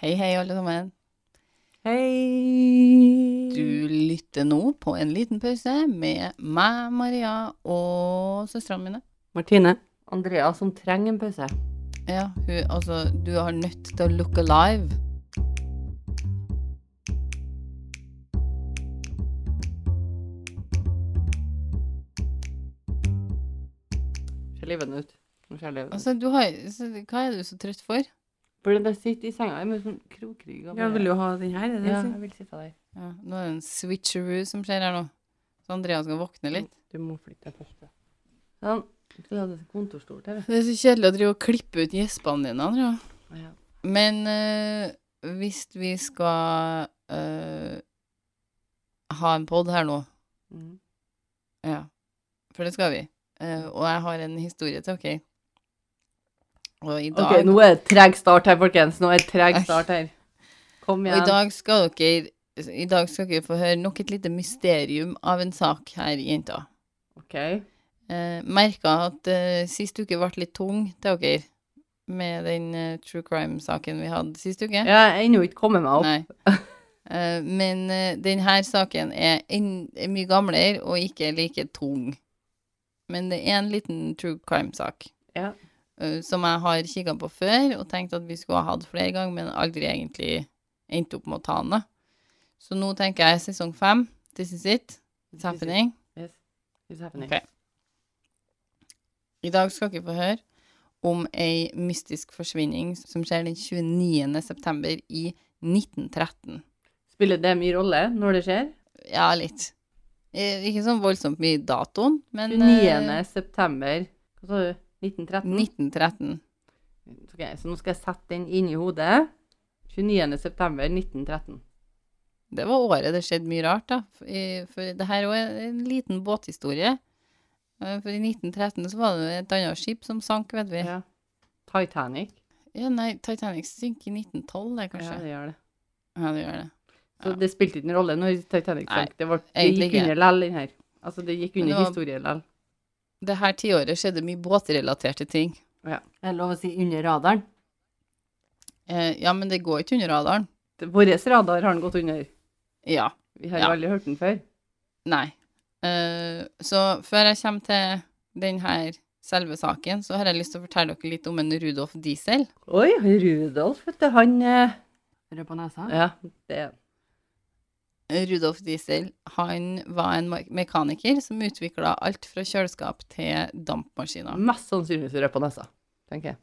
Hei, hei, alle sammen. Hei! Du lytter nå på en liten pause med meg, Maria, og søstrene mine. Martine. Andrea som trenger en pause. Ja, hun, altså, du har nødt til å look alive. Ser livet ut. Nå ser livet ut. Altså, du har, så, hva er du så trøtt for? Fordi jeg sitter i senga jeg er med sånn krokrygg. og Jeg bare- vil jo ha den her. Er det ja, det jeg vil sitte der. Ja, nå er det en switcheroo som skjer her nå. Så Andrea skal våkne litt. Du må flytte deg først. ja. Sånn. Du skulle hatt et kontorstol til. Det er så kjedelig å drive og klippe ut gjespene dine, Andrea. Ja. Men eh, hvis vi skal eh, ha en pod her nå, Mm. Ja, for det skal vi. Eh, og jeg har en historie til, OK? Og i dag, Ok, nå er det treg start her, folkens. Nå er det treg Æsj. start her. Kom og i igjen. dag skal dere i dag skal dere få høre nok et lite mysterium av en sak her, jenter. Ok. Uh, Merka at eh, sist uke ble litt tung til dere med den eh, true crime-saken vi hadde sist uke. Jeg har ennå ikke kommet meg opp. Nei. Eh, men denne saken er en, er mye gamlere og ikke like tung. Men det er en liten true crime-sak. Ja. Eh, som jeg har kikka på før og tenkt at vi skulle ha hatt flere ganger, men aldri egentlig endte opp med å ta den. da. Så nå tenker jeg sesong fem. This is it. It's happening. Yes. It's happening. Ok. I dag skal dere få høre om ei mystisk forsvinning som skjer den 29. september i 1913. Spiller det mye rolle når det skjer? Ja, litt. Eh, Ikke sånn voldsomt mye datoen, men eh, 29. september Hva sa du? 1913? 1913. Ok, så nå skal jeg sette den inn i hodet. 29. september 1913. Det var året det skjedde mye rart, da. For, i- for det her òg er en liten båthistorie. Eh, For i 1913 så var det et annet skip som sank, vet vi. Ja, Ja. Titanic. nei, Titanic synker i 1912, det, Ja, kanskje. det gjør det. Ja, det gjør det. Så Ja. det spilte ikke noen rolle når Titanic Nei, sank. Det, var, det egentlig gikk ikke. under lell, den her. Altså, det gikk Men under det var- historien lell. Det her tiåret skjedde mye båtrelaterte ting. Ja. Er det lov å si under radaren? Eh, ja, men det går ikke under radaren. Vår radar har den gått under. Ja. Vi har Ja. jo aldri hørt den før. Nei. Eh, så før jeg kommer til denne selve saken, så har jeg lyst til å fortelle dere litt om en Rudolf Diesel. Oi, Rudolf, vet du, han eh, Rød på nesa? Ja, det Rudolf Diesel han var en me- mekaniker som utvikla alt fra kjøleskap til dampmaskiner. mest sannsynligvis rød på nesa, tenker jeg.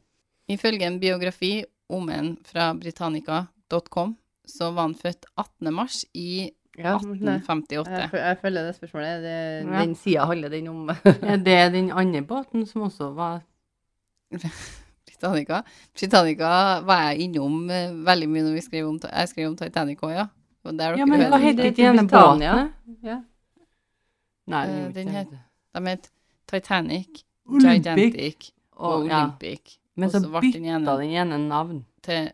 Ifølge en biografi om en fra britannica.com, så var han født 18. mars i Ja, Mm, nei. jeg, 1858. fø- jeg følger det spørsmålet. Det, Ja. Den sida handler den om. Er det den andre båten som også var Britannica. Britannica var jeg innom eh, veldig mye når vi skrev om, jeg skrev om Titanic òg, ja. Det var der Ja, dere men hørte hva det. heter heter ikke den Britannia? båten? Ja. Nei, Eh, den, den den het- De het Titanic, Olympic. Gigantic og ja. Olympic. Men Og så så ble bytta den den, ene ene navn. til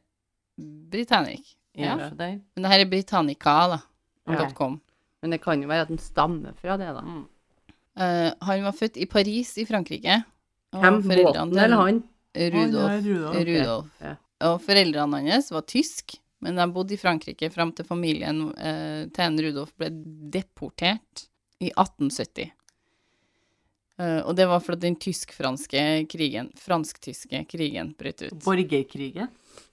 Britannic. Ja. Ja. så Der. Men det her er Britannica, da. Ja. dot .com. Men det kan jo være at den stammer fra det, da. Mm. Eh, han var født i Paris i Frankrike. og Hvem? foreldrene Båten til eller han? Rudolf. Rudolf. Ja. Og foreldrene hans var tysk, men de bodde i Frankrike fram til familien eh, til en Rudolf ble deportert i 1870. Eh, og det var fordi den tysk-franske krigen, fransk-tyske krigen, brøt ut. Borgerkrigen.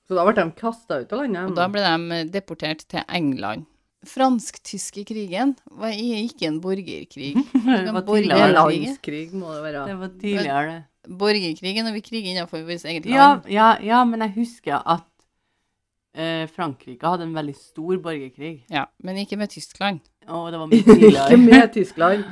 Så da ble de kasta ut av landet. Og da ble de eh, deportert til England. Fransk-tyske krigen var ikke en borgerkrig. det var Men det er tidligere. borgerkrig. landskrig, må det være. Det var tidligere, det. Borgerkrigen og vi kriger innenfor vårt eget Ja, land. ja, ja, men jeg husker at eh, Frankrike hadde en veldig stor borgerkrig. Ja, men ikke med Tyskland. Og det var mye Ikke tidligere. med Tyskland.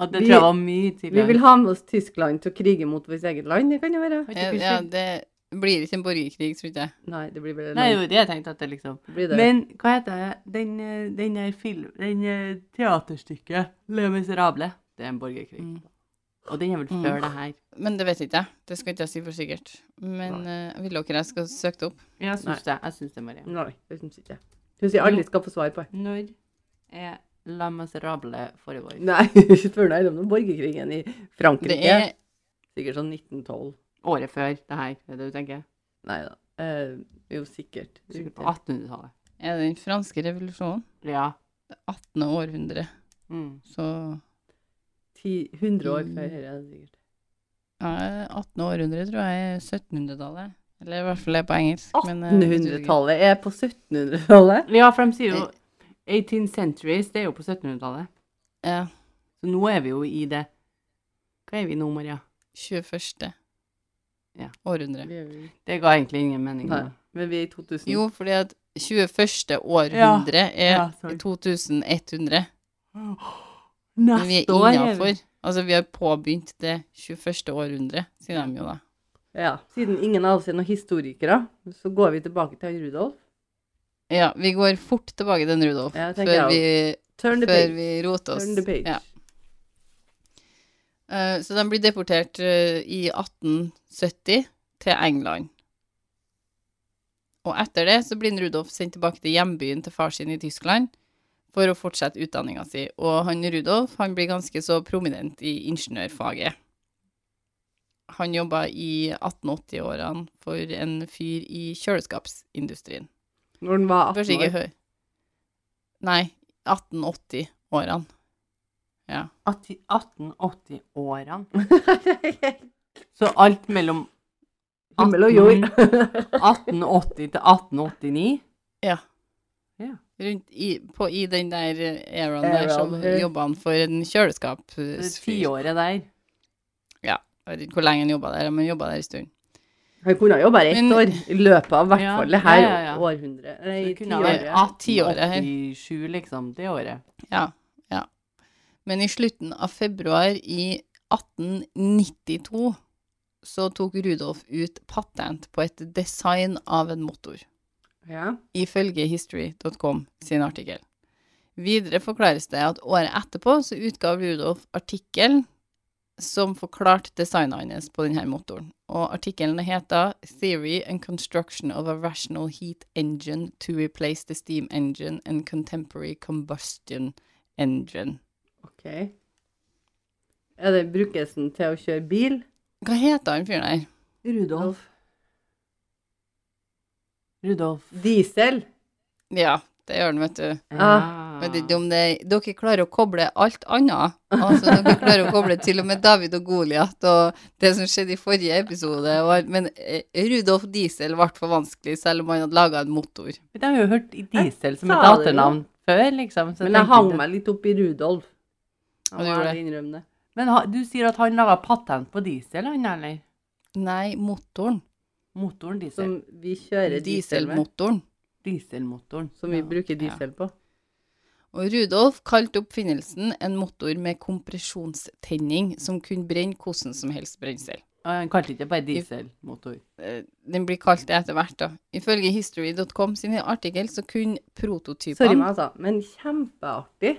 Og det Vi- tror jeg var mye Vi tidligere. vil ha med oss Tyskland til å krige mot vårt eget land, det kan jo være. Har ikke Eh, du Ja, sett- det blir ikke en borgerkrig, tror jeg. Nei, det blir vel Nei, det var det jeg tenkte at det liksom Det blir det. Men hva heter det? Den, eh, den der film... Den eh, teaterstykket Le Miserable. Det er en borgerkrig. Mm. Og den er vel Mm. før det her. Men det vet ikke jeg. Det skal ikke jeg si for sikkert. Men uh, vil dere jeg skal søke det opp? Jeg syns det. Jeg syns det, Maria. Nei, det syns ikke jeg. Syns jeg alle skal få svar på. Når er La Miserable foregår? Nei, ikke før det er om borgerkrigen i Frankrike. Det er Sikkert sånn 1912. Året før det her, er det du tenker? Nei da. Eh, jo, sikkert. Sikkert på Rundt 1800-tallet. Er det den franske revolusjonen? Ja. Det 18. århundre. Mm. Så ti- 100 år Mm. før Høyre, er det sikkert. ja, 18. århundre tror jeg er 1700-tallet. Eller i hvert fall det er på engelsk. men, eh, jeg husker ikke. 1800-tallet er på 1700-tallet. ja, for de sier jo 18th centuries, det er jo på 1700-tallet. Ja. Så nå er vi jo i det Hva er vi nå, Maria? 21. Ja. århundre. Vi er jo- Det ga egentlig ingen mening. Nei, nå. men vi er i 2000. Jo, fordi at 21. århundre Ja, er sorry. 2100. Men vi er Neste år er vi innafor. Altså, vi har påbegynt det 21. århundre, sier de jo da. Ja. Siden ingen av oss er noen historikere, så går vi tilbake til han Rudolf. Ja, vi går fort tilbake til den Rudolf Ja, tenker før jeg vi, Turn the før page. vi roter oss. Turn the page. Ja. Eh, Så de blir deportert eh, i 1870 til England. Og etter det så blir Rudolf sendt tilbake til hjembyen til far sin i Tyskland for å fortsette utdanninga si. Og han Rudolf han blir ganske så prominent i ingeniørfaget. Han jobba i 1880-årene for en fyr i kjøleskapsindustrien. Når han var 18 Kanskje ikke år. høy. Nei, 1880-årene. Ja. i 1880-årene. Himmel Så alt mellom og jord. 1880 til 1889 Rundt i, på, I den der eraen Eraen, der så ja. jobba han for en kjøleskap... det er Jeg tiåret der. vet ikke hvor lenge han jobba der, men han jobba der en stund. Han kunne ha jobba ett Men- år i løpet av hvert Ja, fall det her ja, ja, ja. århundret. Nei, Det kunne ha tiåret. vært Ja, tiåret her. 1887, liksom. Det året. Ja, ja. Men i slutten av februar i 1892 så tok Rudolf ut patent på et design av en motor. Ja. ifølge history.com sin artikkel. Videre forklares det at året etterpå så utga Rudolf artikkel som forklarte designet hans på denne motoren. Og artikkelen heter 'Theory and Construction of a Rational Heat Engine to Replace the Steam Engine and Contemporary Combustion Engine'. OK. Er det brukes den til å kjøre bil? Hva heter han fyren der? Rudolf. Rudolf. Diesel? Ja, det gjør han, vet du. Ah. Ja. Vet ikke om det, dere klarer å koble alt annet. Altså, dere klarer å koble til og med David og Goliat og det som skjedde i forrige episode. Og, alt, men eh, Rudolf Diesel ble for vanskelig, selv om han hadde laga en motor. Men De har jo hørt i Diesel som sa det et jo. daternavn før, liksom. så Men jeg tenkte hang jeg- meg litt opp i Rudolf. Jeg Ja, du må gjorde ærlig det. innrømme det. Men ha- du sier at han laga patent på diesel, han, eller? Nei, motoren. Motoren diesel. Som vi kjører diesel med. Dieselmotoren. Dieselmotoren. Som vi Ja, bruker ja. diesel på. Og Rudolf kalte oppfinnelsen en motor med kompresjonstenning som kunne brenne hvordan som helst brensel. Og han kalte ikke bare dieselmotor. Eh, Den blir kalt det etter hvert, da. Ifølge history.com sin artikkel så kunne Sorry, prototypene meg, altså. Men kjempeartig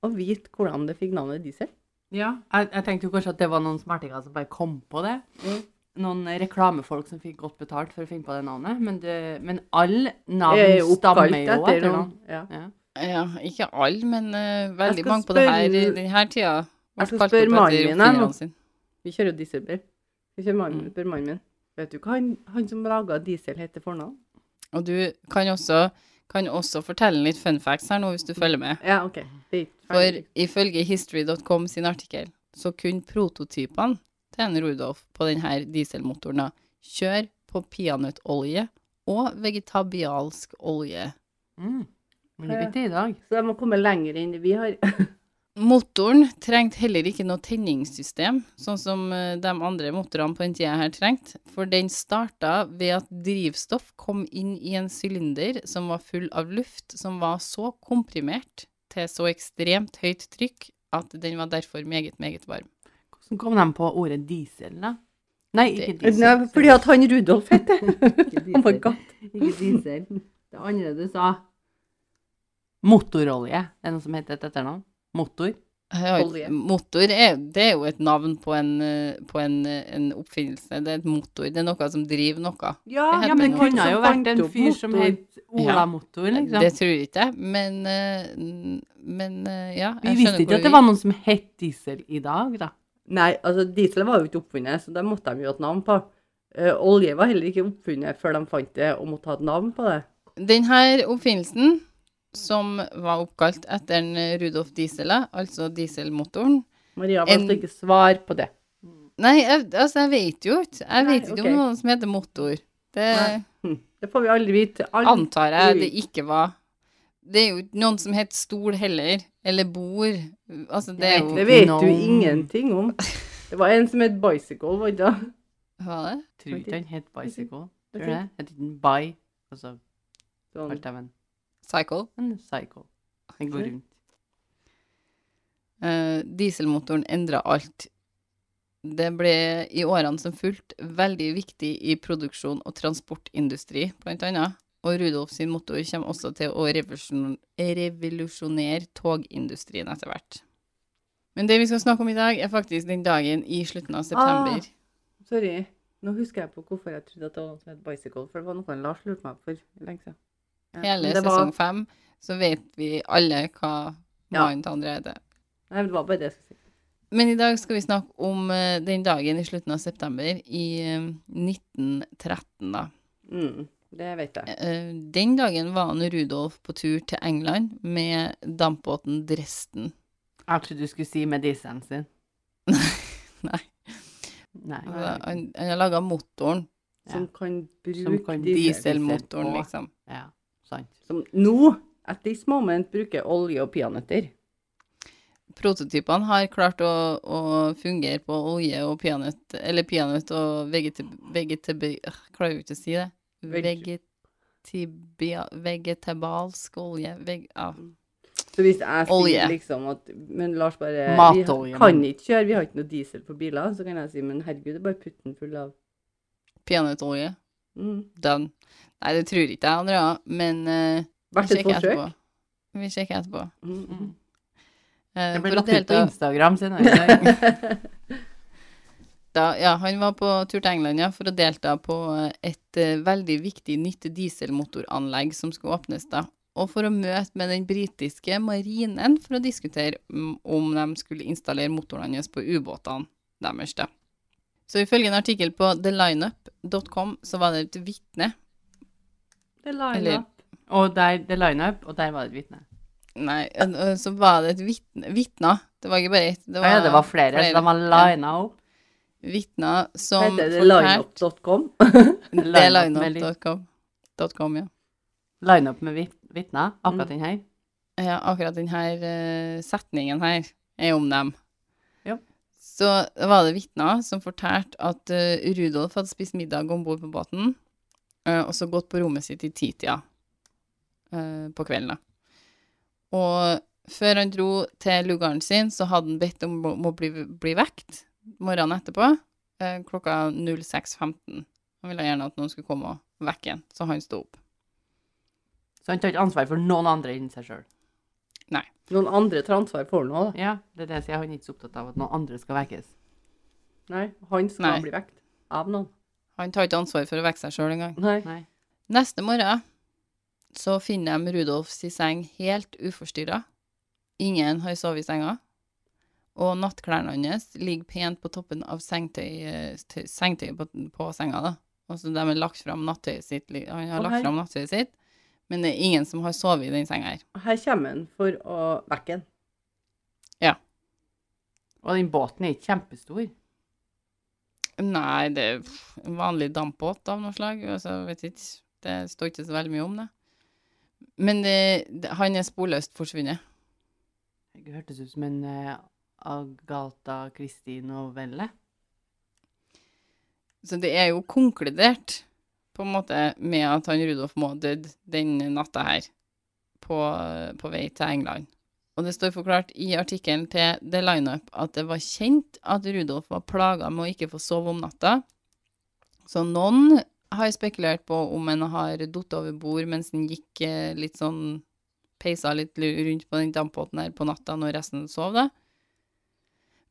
å vite hvordan det fikk navnet diesel. Ja, jeg, jeg tenkte jo kanskje at det var noen smertinger som bare kom på det. Mm. Noen reklamefolk som fikk godt betalt for å finne på det navnet. Men, det, men alle Det er jo navn stammer oppkalt jo etter noen. noen. Ja. Ja. Ja, ikke alle, men eh, veldig skal mange på det her, spørre- denne tida. Jeg skal Ble kalt opp spørre etter mannen min her nå. oppfinnerne sin. Vi kjører jo dieselbil. Vi kjører Mm. mannen min, spør mannen min. Vet du hva han, han som laga diesel, heter fornavn? Og du kan også, kan også fortelle litt fun facts her nå, hvis du følger med. Ja, OK. Mm. Det er ikke For Mm. ferdig. ifølge history.com sin artikkel, så kunne prototypene til en Rudolf på denne dieselmotoren da, kjøre på peanøttolje og vegetabialsk olje. Mm. Men det blir ikke i dag. Så de må komme lenger inn. Vi har Motoren trengte heller ikke noe tenningssystem, sånn som eh, de andre motorene på den tida her trengte, for den starta ved at drivstoff kom inn i en sylinder som var full av luft, som var så komprimert til så ekstremt høyt trykk at den var derfor meget, meget varm. Hvordan kom de på ordet diesel, da? Nei, ikke Det- diesel. Nei, fordi at han Rudolf heter Oh my god. Ikke diesel. Det andre du sa. Motorolje. Er det noe som heter et etternavn? Motor? Jeg har- Olje. Motor er, det er jo et navn på, en, eh, på en, eh, en oppfinnelse. Det er et motor. Det er noe som driver noe. Ja, Det ja, heter men det motor. kunne jo vært Liksom en Som fant fyr opp som motor. het Ola Ja. Motor, liksom. Det tror jeg ikke, men, eh, n- men eh, ja. Vi jeg skjønner visste hvor ikke du at det var noen som het diesel i dag, da. Nei, altså diesel var jo ikke oppfunnet, så det måtte de jo ha et navn på. Eh, Olje var heller ikke oppfunnet før de fant det og måtte ha et navn på det. Denne oppfinnelsen, som var oppkalt etter en Rudolf Diesela, altså dieselmotoren Maria var En- altså ikke svar på det. Nei, jeg, altså, jeg vet jo ikke. Jeg Nei, vet ikke ok. om noen som heter motor. Det Nei. Hm, Det får vi aldri vite. Aldri. antar jeg det ikke var. Det er jo ikke noen som heter stol heller, eller bord. Altså, det er jo Det vet du Noen- ingenting om. Det var en som het Bicycle, var det ikke det? Hva er det? Tror ikke han het Bicycle. Tror Jeg du det? Het ikke han Bi? Og så Sånn. kalte de han Cycle. en Cycle. Han går rundt. Eh, dieselmotoren endra alt. Det ble i årene som fulgte veldig viktig i produksjon og transportindustri, blant annet. Og Rudolf sin motor kommer også til å revolusjon- revolusjonere togindustrien etter hvert. Men det vi skal snakke om i dag, er faktisk den dagen i slutten av september. Sorry. Nå husker jeg på hvorfor jeg trodde at det var noe som het Bicycle, for det var noe Lars lurte meg for lenge siden. Ja, Hele men Ah, det sesong Var, fem, så vet vi alle hva Ja. mannen til andre heter. nei, men det var bare det jeg skulle si. Men i dag skal vi snakke om eh, den dagen i slutten av september i eh, 1913, da. Mm, det vet jeg. Eh, Den dagen var han Rudolf på tur til England med dampbåten Dresden. Jeg trodde du skulle si med dieselen sin. Nei. Nei. Altså, Han, han har laga motoren. Som Ja. kan bruke Som kan diesel- Dieselmotoren, diesel- liksom. Ja, sant. Som nå, at this moment, bruker olje og peanøtter. Prototypene har klart å, å fungere på olje og peanøtt Eller peanøtt og vegetib... vegetib øh, klarer jo ikke å si det. Veg- Vegetibia... Vegetabalsk olje veg, ja. Så hvis jeg sier Olje. liksom at Men Lars bare Matolje, Vi kan men- ikke kjøre, vi har ikke noe diesel på biler. Så kan jeg si men herregud, det er bare putten full av Peanøttolje. mm. Done. Nei, det tror ikke jeg, Andrea, men eh, vi Verdt et sjekker forsøk. etterpå. Vi sjekker etterpå. Mm. Eh, Det for ble at lagt det hele ut på tatt- Instagram senere. da, ja, han var på tur til England ja, for å delta på et eh, veldig viktig nytt dieselmotoranlegg som skulle åpnes da. Og for å møte med den britiske marinen for å diskutere mm, om de skulle installere motoren hans på ubåtene deres. da. Så ifølge en artikkel på thelineup.com så var det et vitne Det la jeg Eller- opp. Og der, det lineup, og der var det et vitne. Nei, en- eh, så var det et vitne, vitner. Det var ikke bare ett. Det Å ja, det var flere, flere. så de var lina opp. vitner som Heter det fortalte lineup.com? Det er Lineup med litt- lineup.com. dot com, Ja. Lineup med vit- vitner, akkurat den her. Ja, akkurat denne setningen her er om dem. Ja. Så var det vitner som fortalte at eh, Rudolf hadde spist middag om bord på båten, eh, og så gått på rommet sitt i titida eh, på kvelden. da. Og før han dro til lugaren sin, så hadde han bedt om å- om å bli, bli vekt morgenen etterpå, eh, klokka 06.15. Han ville gjerne at noen skulle komme og vekke han, så han sto opp. Så han tar ikke ansvar for noen andre enn seg sjøl. Noen andre tar ansvar for noe, da. Ja, det er det jeg sier. Han er ikke så opptatt av at noen andre skal vekkes. Nei, han skal Nei. bli vekt. Av noen. Han tar ikke ansvar for å vekke seg sjøl engang. Nei. Nei. Neste morgen så finner de Rudolfs seng helt uforstyrra. Ingen har sovet i senga. Og nattklærne hans ligger pent på toppen av sengtøyet, tøy- sengtøyet på, på senga. da. Altså, de har lagt fram nattøyet sitt. li- Han har Å, hei. lagt fram nattøyet sitt, men det er ingen som har sovet i den senga her. Her kommer han for å vekke han. Og den båten er ikke kjempestor. Nei, det er pff, en vanlig dampbåt av noe slag. Altså, jeg vet ikke. Det står ikke så veldig mye om det. Men det, det, han er sporløst forsvunnet. Det hørtes ut som en eh, Agatha Christie-novelle. Så det er jo konkludert på en måte med at han Rudolf må ha dødd den natta her på, på vei til England. Og det står forklart i artikkelen til The Lineup at det var kjent at Rudolf var plaga med å ikke få sove om natta. Så noen har spekulert på om han har datt over bord mens han gikk eh, litt sånn Peisa litt lu- rundt på den dampbåten her på natta når resten sov, da.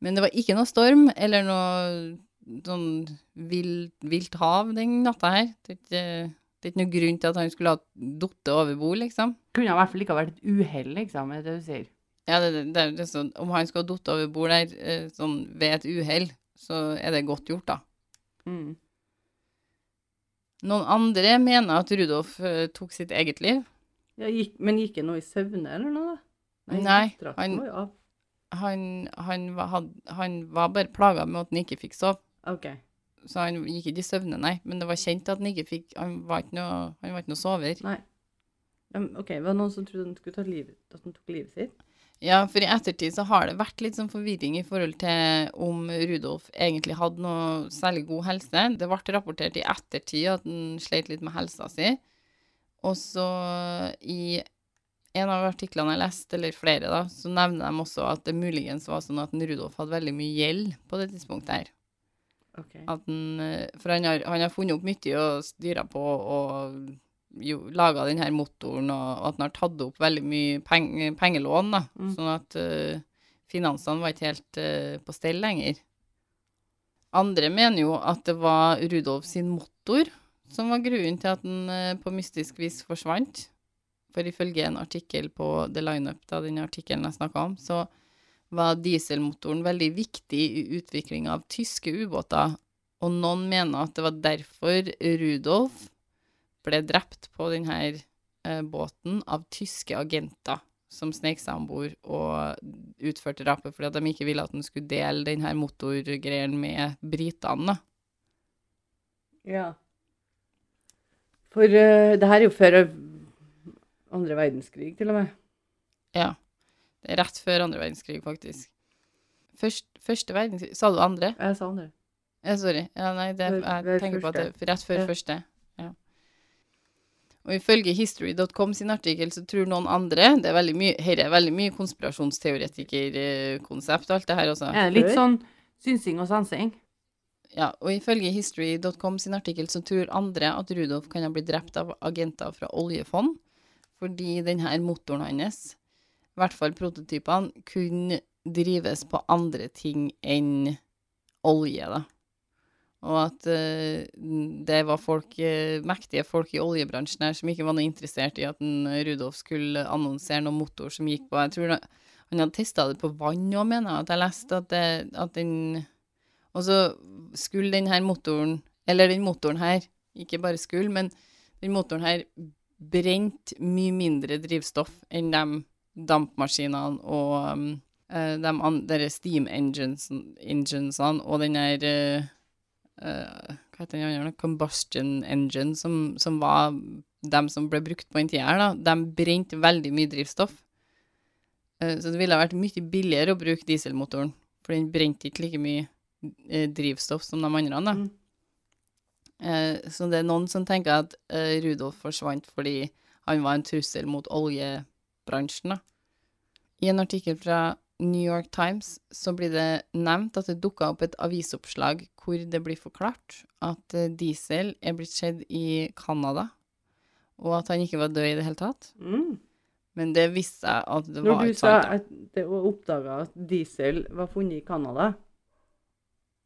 Men det var ikke noe storm eller noe sånn vilt, vilt hav den natta her. Det er, ikke, det er ikke noe grunn til at han skulle ha datt over bord, liksom. Kunne i hvert fall ikke ha vært et uhell, liksom, er det du sier. Ja, det, det, det, er- det, er sånn, om han skulle ha datt over bord der eh, sånn, ved et uhell, så er det godt gjort, da. Mm. Noen andre mener at Rudolf eh, tok sitt eget liv. Ja, gikk, men gikk han nå i søvne eller noe? da? Nei, drakten han- var jo av. Han, han, var, had- han var bare plaga med at han ikke fikk sove, Ok. så han gikk ikke i søvne, nei. Men det var kjent at han ikke fikk Han var ikke noe, han var ikke noe sover. Nei. Men, ok, var det noen som trodde han skulle ta livet, at han tok livet sitt? Ja, for i ettertid så har det vært litt sånn forvirring i forhold til om Rudolf egentlig hadde noe særlig god helse. Det ble rapportert i ettertid at han sleit litt med helsa si. Og så i en av artiklene jeg leste, eller flere da, så nevner de også at det muligens var sånn at han Rudolf hadde veldig mye gjeld på det tidspunktet her. Ok. At han, eh, for han har, han har funnet opp mye og styra på og jo, laga den her motoren, og, og at han har tatt opp veldig mye peng, pengelån, da. Mm. Sånn at eh, finansene var ikke helt eh, på stell lenger. Andre mener jo at det var Rudolf sin motor som var grunnen til at han eh, på mystisk vis forsvant. For ifølge en artikkel på The Lineup, da den artikkelen jeg snakka om, så var dieselmotoren veldig viktig i utviklinga av tyske ubåter, og noen mener at det var derfor Rudolf ble drept på denne eh, båten av tyske agenter som snek seg om bord og utførte drapet fordi at de ikke ville at han skulle dele denne motorgreien med britene. da. Ja. For eh, det her er jo før eh, andre verdenskrig, til og med. Ja. Det er rett før andre verdenskrig, faktisk. Først, første verdenskrig Sa du andre? Jeg sa andre. Ja, sorry. Ja, nei, det, Ved- jeg ved tenker på at det første. er rett før Ja. første. Ja. Og ifølge history.com sin artikkel så tror noen andre Det er veldig mye, her er veldig mye konspirasjonsteoretikerkonsept og alt det her også. Er det litt sånn synsing og sansing? Ja, og ifølge history.com sin artikkel så tror andre at Rudolf kan ha blitt drept av agenter fra oljefond, fordi denne motoren hans, i hvert fall prototypene, kunne drives på andre ting enn olje, da. Og at eh, det var folk, eh, mektige folk i oljebransjen her som ikke var noe interessert i at en Rudolf skulle annonsere noen motor som gikk på Jeg tror da, han hadde testa det på vann òg, mener jeg, at jeg leste at, det, at den og så skulle den her motoren, eller den motoren her, ikke bare skulle, men den motoren her brent mye mindre drivstoff enn de dampmaskinene og um, eh, de andre steam engines, enginesene og den her eh, eh, Hva heter den andre? Combustion engine, som, som var dem som ble brukt på den tida her, da. De brente veldig mye drivstoff. Eh, Så det ville ha vært mye billigere å bruke dieselmotoren, for den brente ikke like mye eh, drivstoff som de andre. Da. Mm. Eh, så det er noen som tenker at eh, Rudolf forsvant fordi han var en trussel mot oljebransjen. Da. I en artikkel fra New York Times så blir det nevnt at det dukka opp et avisoppslag hvor det blir forklart at eh, diesel er blitt skjedd i Canada, og at han ikke var død i det hele tatt. Mm. Men det viste seg at det var Når du ikke sa sant. da. at det var oppdaga at diesel var funnet i Canada,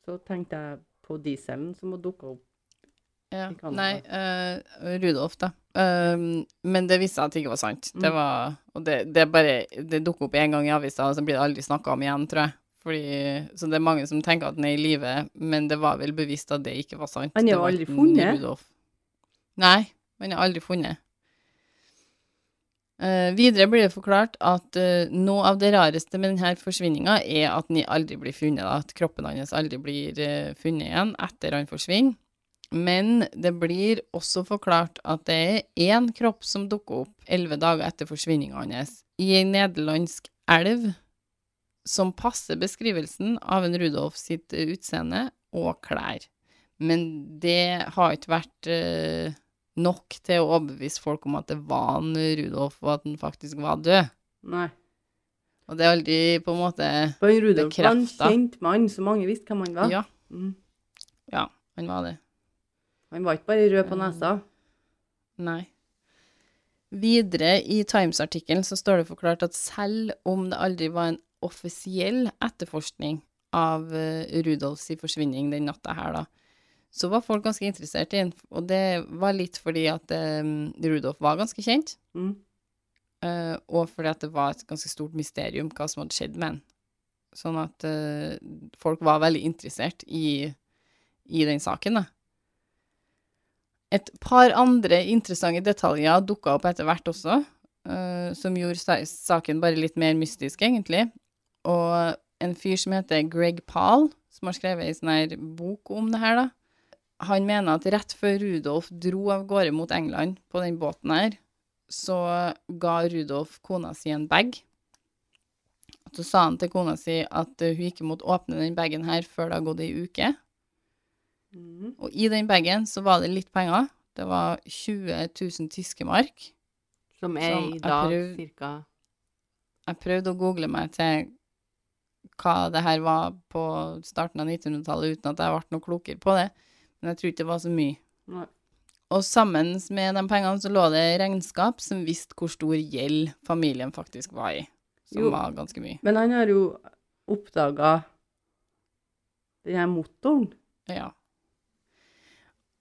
så tenkte jeg på dieselen som hadde dukka opp. Ja. I Canada. Nei, eh, Rudolf, da. Um, men det viste seg at det ikke var sant. Det Mm. var Og det, det er bare Det dukker opp én gang i avisa, og så blir det aldri snakka om igjen, tror jeg. Fordi, så det er mange som tenker at den er i live, men det var vel bevisst at det ikke var sant. Han er Det jo var aldri ikke funnet. Rudolf. Nei, han er aldri funnet. Eh, videre blir det forklart at eh, noe av det rareste med denne forsvinninga er at den aldri blir funnet, da, at kroppen hans aldri blir eh, funnet igjen etter han forsvinner. Men det blir også forklart at det er én kropp som dukker opp elleve dager etter forsvinninga hans, i ei nederlandsk elv som passer beskrivelsen av en Rudolf sitt eh, utseende og klær. Men det har ikke vært eh, nok til å overbevise folk om at det var en Rudolf, og at han faktisk var død. Nei. Og det er aldri på en måte For han Rudolf var en Bekrefta. kjent mann, så mange visste hvem han var. Ja, Mm. han var det. Han var ikke bare rød på nesa. Nei. Videre i Times-artikkelen så står det forklart at selv om det aldri var en offisiell etterforskning av eh, Rudolfs forsvinning den natta her, da, så var folk ganske interessert i den. Og det var litt fordi at eh, Rudolf var ganske kjent. Mm. Eh, og fordi at det var et ganske stort mysterium hva som hadde skjedd med han. Sånn at eh, folk var veldig interessert i, i den saken, da. Et par andre interessante detaljer dukka opp etter hvert også, eh, som gjorde sa- saken bare litt mer mystisk, egentlig. Og en fyr som heter Greg Pahl, som har skrevet ei sånn her bok om det her, da, han mener at rett før Rudolf dro av gårde mot England på den båten her, så ga Rudolf kona si en bag. Så sa han til kona si at eh, hun ikke måtte åpne den bagen her før det har gått ei uke. Mhm. Og i den bagen så var det litt penger. Det var 20 000 tyske mark. Som er i dag cirka Jeg prøvde å google meg til hva det her var på starten av 1900-tallet, uten at jeg ble noe klokere på det. Men jeg tror ikke det var så mye. Nei. Og sammen med de pengene så lå det regnskap som visste hvor stor gjeld familien faktisk var i. Som Jo. var ganske mye. Men han har jo oppdaga den her motoren. Ja.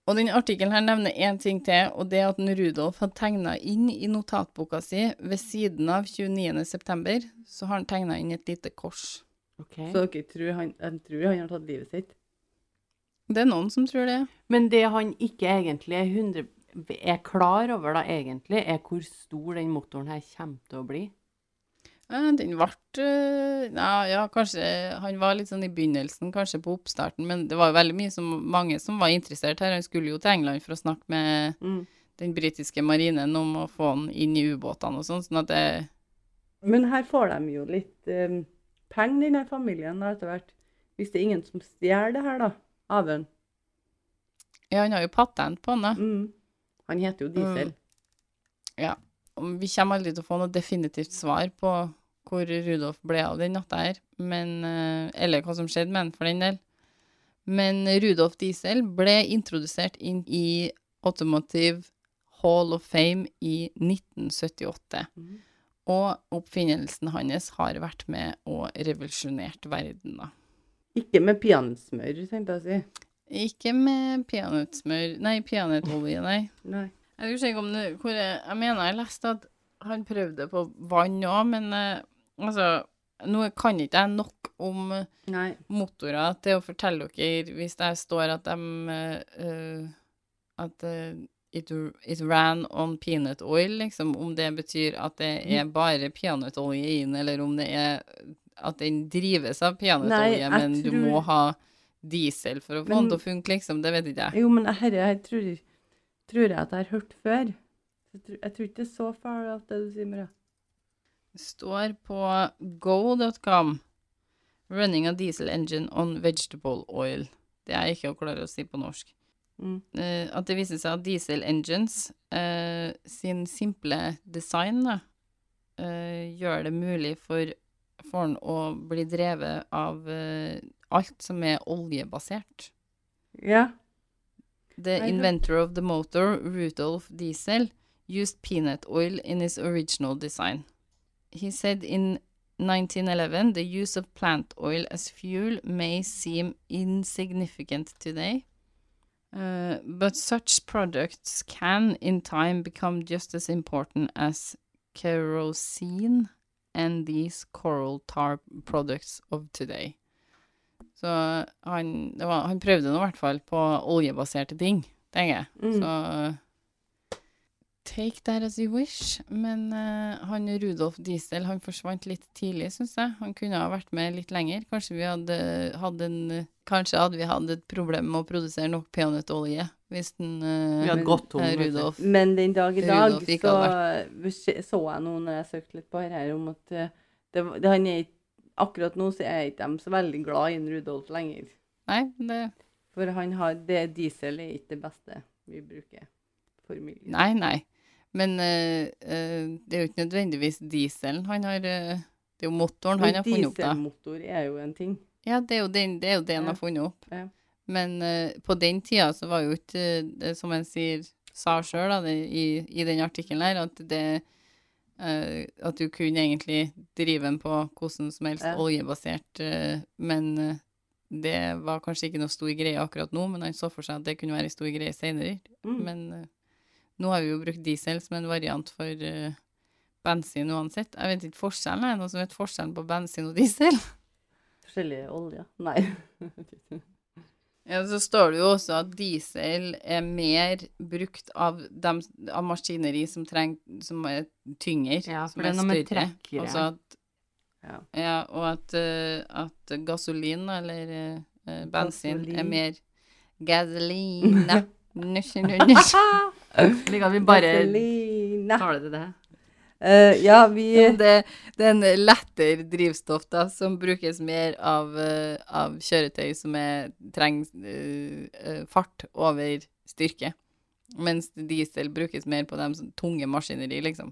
Og den artikkelen her nevner én ting til, og det er at den Rudolf hadde tegna inn i notatboka si ved siden av 29.9., så har han tegna inn et lite kors. Så dere tror han, de tror han har tatt livet sitt? Det er noen som tror det. Men det han ikke egentlig er 100 er klar over, da, egentlig, er hvor stor den motoren her kommer til å bli. Eh, Den ble eh, ja, ja, kanskje Han var litt sånn i begynnelsen, kanskje på oppstarten, men det var jo veldig mye som, mange som var interessert her. Han skulle jo til England for å snakke med den britiske marinen om å få han inn i ubåtene og sånn, sånn at det Men her får de jo litt um, penger, denne familien, da, etter hvert. Hvis det er ingen som stjeler det her, da. Av han. Ja, han har jo patent på han, da. Mm. Han heter jo Diesel. Om- Vi kommer aldri til å få noe definitivt svar på hvor Rudolf ble av den natta her, men, eh, eller hva som skjedde med han for den del. Men Rudolf Diesel ble introdusert inn i Automotive Hall of Fame i 1978. Mhm. Og oppfinnelsen hans har vært med og revolusjonert verden, da. Ikke med peanøttsmør, tenkte jeg å si. Ikke med peanøttsmør Nei, peanøttolje, nei. Nei. Jeg husker ikke om det hvor jeg, jeg mener jeg leste at han prøvde på vann òg, men eh, altså Nå kan ikke jeg nok om eh, Nei. motorer til å fortelle dere hvis det står at de eh, eh, At eh, it, it ran on peanut oil, liksom. Om det betyr at det er Mm. bare peanøttolje i den, eller om det er at den drives av peanøttolje, jeg men du tror- må ha diesel for å få Men- den til å funke, liksom. Det vet ikke jeg. Jo, men herre, jeg tror, tror jeg at jeg har hørt før. Jeg tror, jeg tror ikke det er så fælt at det du sier, Maria. står på go.com Running a diesel engine on vegetable oil. Det er ikke å klare å si på norsk. Mm. Eh, at det viser seg at diesel engines eh, sin simple design da, eh, gjør det mulig for for den å bli drevet av eh, alt som er oljebasert. Ja. The Nei, det- inventor of the motor, Rudolf Diesel, used peanut oil in his original design. He said in 1911, the use of plant oil as fuel may seem insignificant today, uh, but such products can in time become just as important as kerosene and these coral tar products of today. Så han, det var, han prøvde nå i hvert fall på oljebaserte ting, tenker jeg. Mm. Så take that as you wish. Men eh, han Rudolf Diesel han forsvant litt tidlig, syns jeg. Han kunne ha vært med litt lenger. Kanskje, vi hadde, hatt en, kanskje hadde vi hatt et problem med å produsere nok peanøttolje hvis den eh, Vi hadde men- gått tom. eh, vet du. Rudolf Men den dag i dag Rudolf ikke så, så jeg noe når jeg søkte litt på her, her om at eh, det, var- det, han er, ikke- akkurat nå så er ikke de så veldig glad i en Rudolf lenger. Nei, det, For han har, det diesel er ikke det beste vi bruker for miljøet. nei, nei. Men eh, eh, det er jo ikke nødvendigvis dieselen han har eh, Det er jo motoren han har funnet opp, da. Dieselmotor er jo en ting. Ja, det er jo den, det er jo det han Ja. har funnet opp. Ja. Men eh, på den tida så var jo ikke eh, det som han sier, sa sjøl i, i den artikkelen her, at det eh, At du kunne egentlig drive den på hvordan som helst Ja. oljebasert, eh, men eh, det var kanskje ikke noe stor greie akkurat nå, men han så for seg at det kunne være en stor greie seinere. Mm. Men eh, nå har vi jo brukt diesel som en variant for eh, bensin uansett. Jeg vet ikke forskjellen. Er det noen som vet forskjellen på bensin og diesel? Forskjellige oljer. Nei. Ja, så står det jo også at diesel er mer brukt av, dem, av maskineri som, treng, som er tyngre, Ja, for som det er noe med trekkere. Altså at, Ja. ja, og at, eh, at gasolin eller eh, bensin Gasolin. er mer Gasoline. Nusj, nusj, nusj. Slik at vi bare Gasolina. tar det til det. Eh, ja, vi Men Det, det er en lettere drivstoff da, som brukes mer av, eh, av kjøretøy som er, trenger eh, eh, fart over styrke. Mens diesel brukes mer på de som- tunge maskineri, liksom.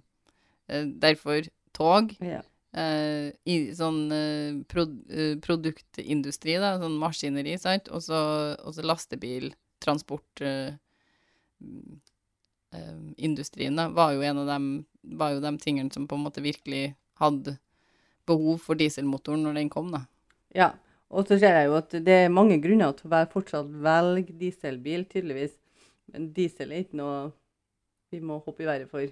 Eh, derfor tog. ja. eh, i sånn eh, prod, eh, produktindustri, da, sånn maskineri, sant, og så, og så lastebil, transport eh, mm, eh, industrien da, var jo en av dem, var jo de tingene som på en måte virkelig hadde behov for dieselmotoren når den kom, da. ja. Og så ser jeg jo at det er mange grunner til å være fortsatt velge dieselbil, tydeligvis. Men diesel er ikke noe vi må hoppe i været for.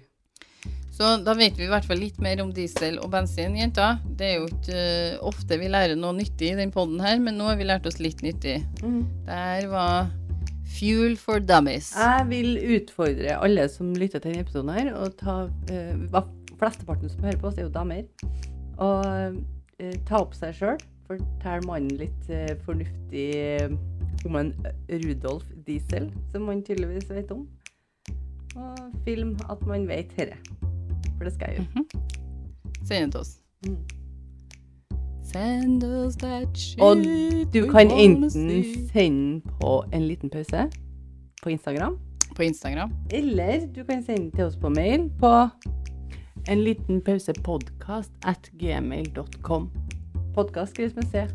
Så da vet vi i hvert fall litt mer om diesel og bensin, jenter. Det er jo ikke eh, ofte vi lærer noe nyttig i den podden her, men nå har vi lært oss litt nyttig. Der var Fuel for Dummies. Jeg vil utfordre alle som lytter til denne episoden her, og ta eh, hva- Flesteparten som hører på oss, er jo damer. Og eh, ta opp seg sjøl. Fortell mannen litt eh, fornuftig eh, om en Rudolf Diesel, som man tydeligvis vet om. Og film at man vet dette. For det skal jeg gjøre. Send det til oss. Mm. Send us that shit. Og Du we kan wanna enten see. sende på en liten pause på Instagram, På Instagram. eller du kan sende til oss på mail på En liten pause podcast at gmail.com. podkast skrives med C.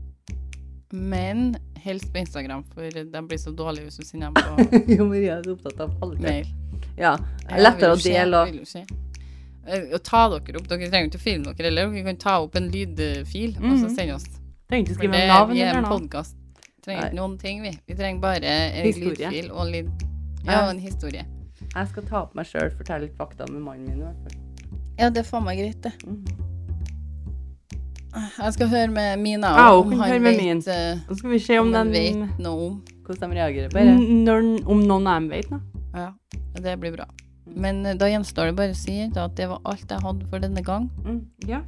Men helst på Instagram, for de blir så dårlige hvis du sender dem på jo, Maria er så opptatt av kvalitet. mail. Ja, Ja, lettere vil å du se, dele og vil du se. Eh, Og ta dere opp. Dere trenger ikke å filme dere heller. Dere kan ta opp en lydfil og så Mhm. sende oss. Tenkte å For skrive det, navn vi er eller en noe. podkast. Trenger Nei. ikke noen ting, vi. Vi trenger bare en Historie. lydfil og en lyd. Ja, Ja. og en historie. Jeg skal ta opp meg sjøl, fortelle litt fakta med mannen min. i hvert fall. Ja, det er faen meg greit, det. Ah, Mhm. Jeg skal høre med Mina Ja, også, hun kan høre med min. eh, Nå skal vi se om om de den vet noe om. Hvordan de reagerer på det. N- når, Om noen av dem vet noe. Ja, det blir bra. Men eh, da gjenstår det bare å si da, at det var alt jeg hadde for denne gang. Mm. Ja.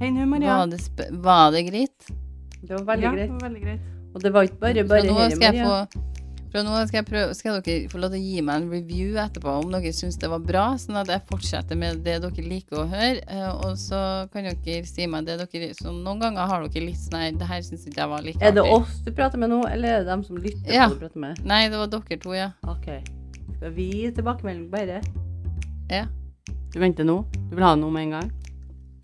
Hei nå, Maria. Var det, sp var det greit? Det var veldig ja, greit. Veldig greit. Og det var ikke bare Fra bare nå av dette, skal jeg Maria. få fra nå av skal, jeg prøve, skal dere få lov til å gi meg en review etterpå om dere syns det var bra, sånn at jeg fortsetter med det dere liker å høre. eh, Og så kan dere si meg det dere som Noen ganger har dere litt sånn her Det her syns ikke jeg var like Er det artig. oss du prater med nå, eller er det dem som lytter Ja. på du prater med? Nei, det var dere to, ja. Ok. Skal vi gi tilbakemelding bare? Ja. Du venter nå? Du vil ha noe med en gang?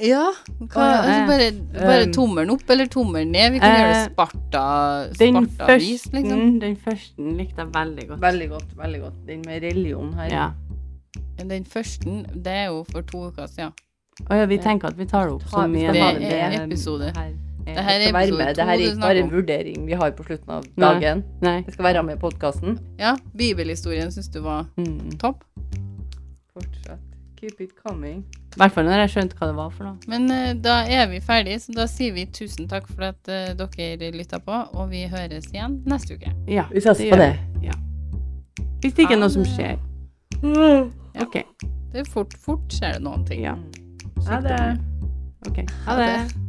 Ja, hva, Å, ja, altså eh, bare, bare um, tommelen opp eller tommelen ned. Vi kan eh, gjøre det sparta, Den sparta vis, første, mm. liksom. den første likte jeg veldig godt. Veldig godt. veldig godt. Den med religion her. Ja. Den første, det er jo for to uker siden. Å ja, vi Ja. tenker at vi tar det opp Ta- som vi i skal Det ha en det er en med. episode. Eh, Her. Det her er Skal være episode med. Det her to er du ikke bare snakker en om. vurdering vi har på slutten av Nei. dagen. Nei. Det skal være med i podkasten. Ja, bibelhistorien syns du var Mm. topp. Fortsatt. Keep it coming. I hvert fall når jeg skjønte hva det var for noe. Men eh, da er vi ferdige, så da sier vi tusen takk for at eh, dere lytta på, og vi høres igjen neste uke. Ja, Vi satser det på gjør det. vi. Ja. Hvis det ikke er noe som Ha skjer. Ja. OK. Det er fort, fort skjer det noen ting. Ja. Ha det. OK. Ha Ha det. det.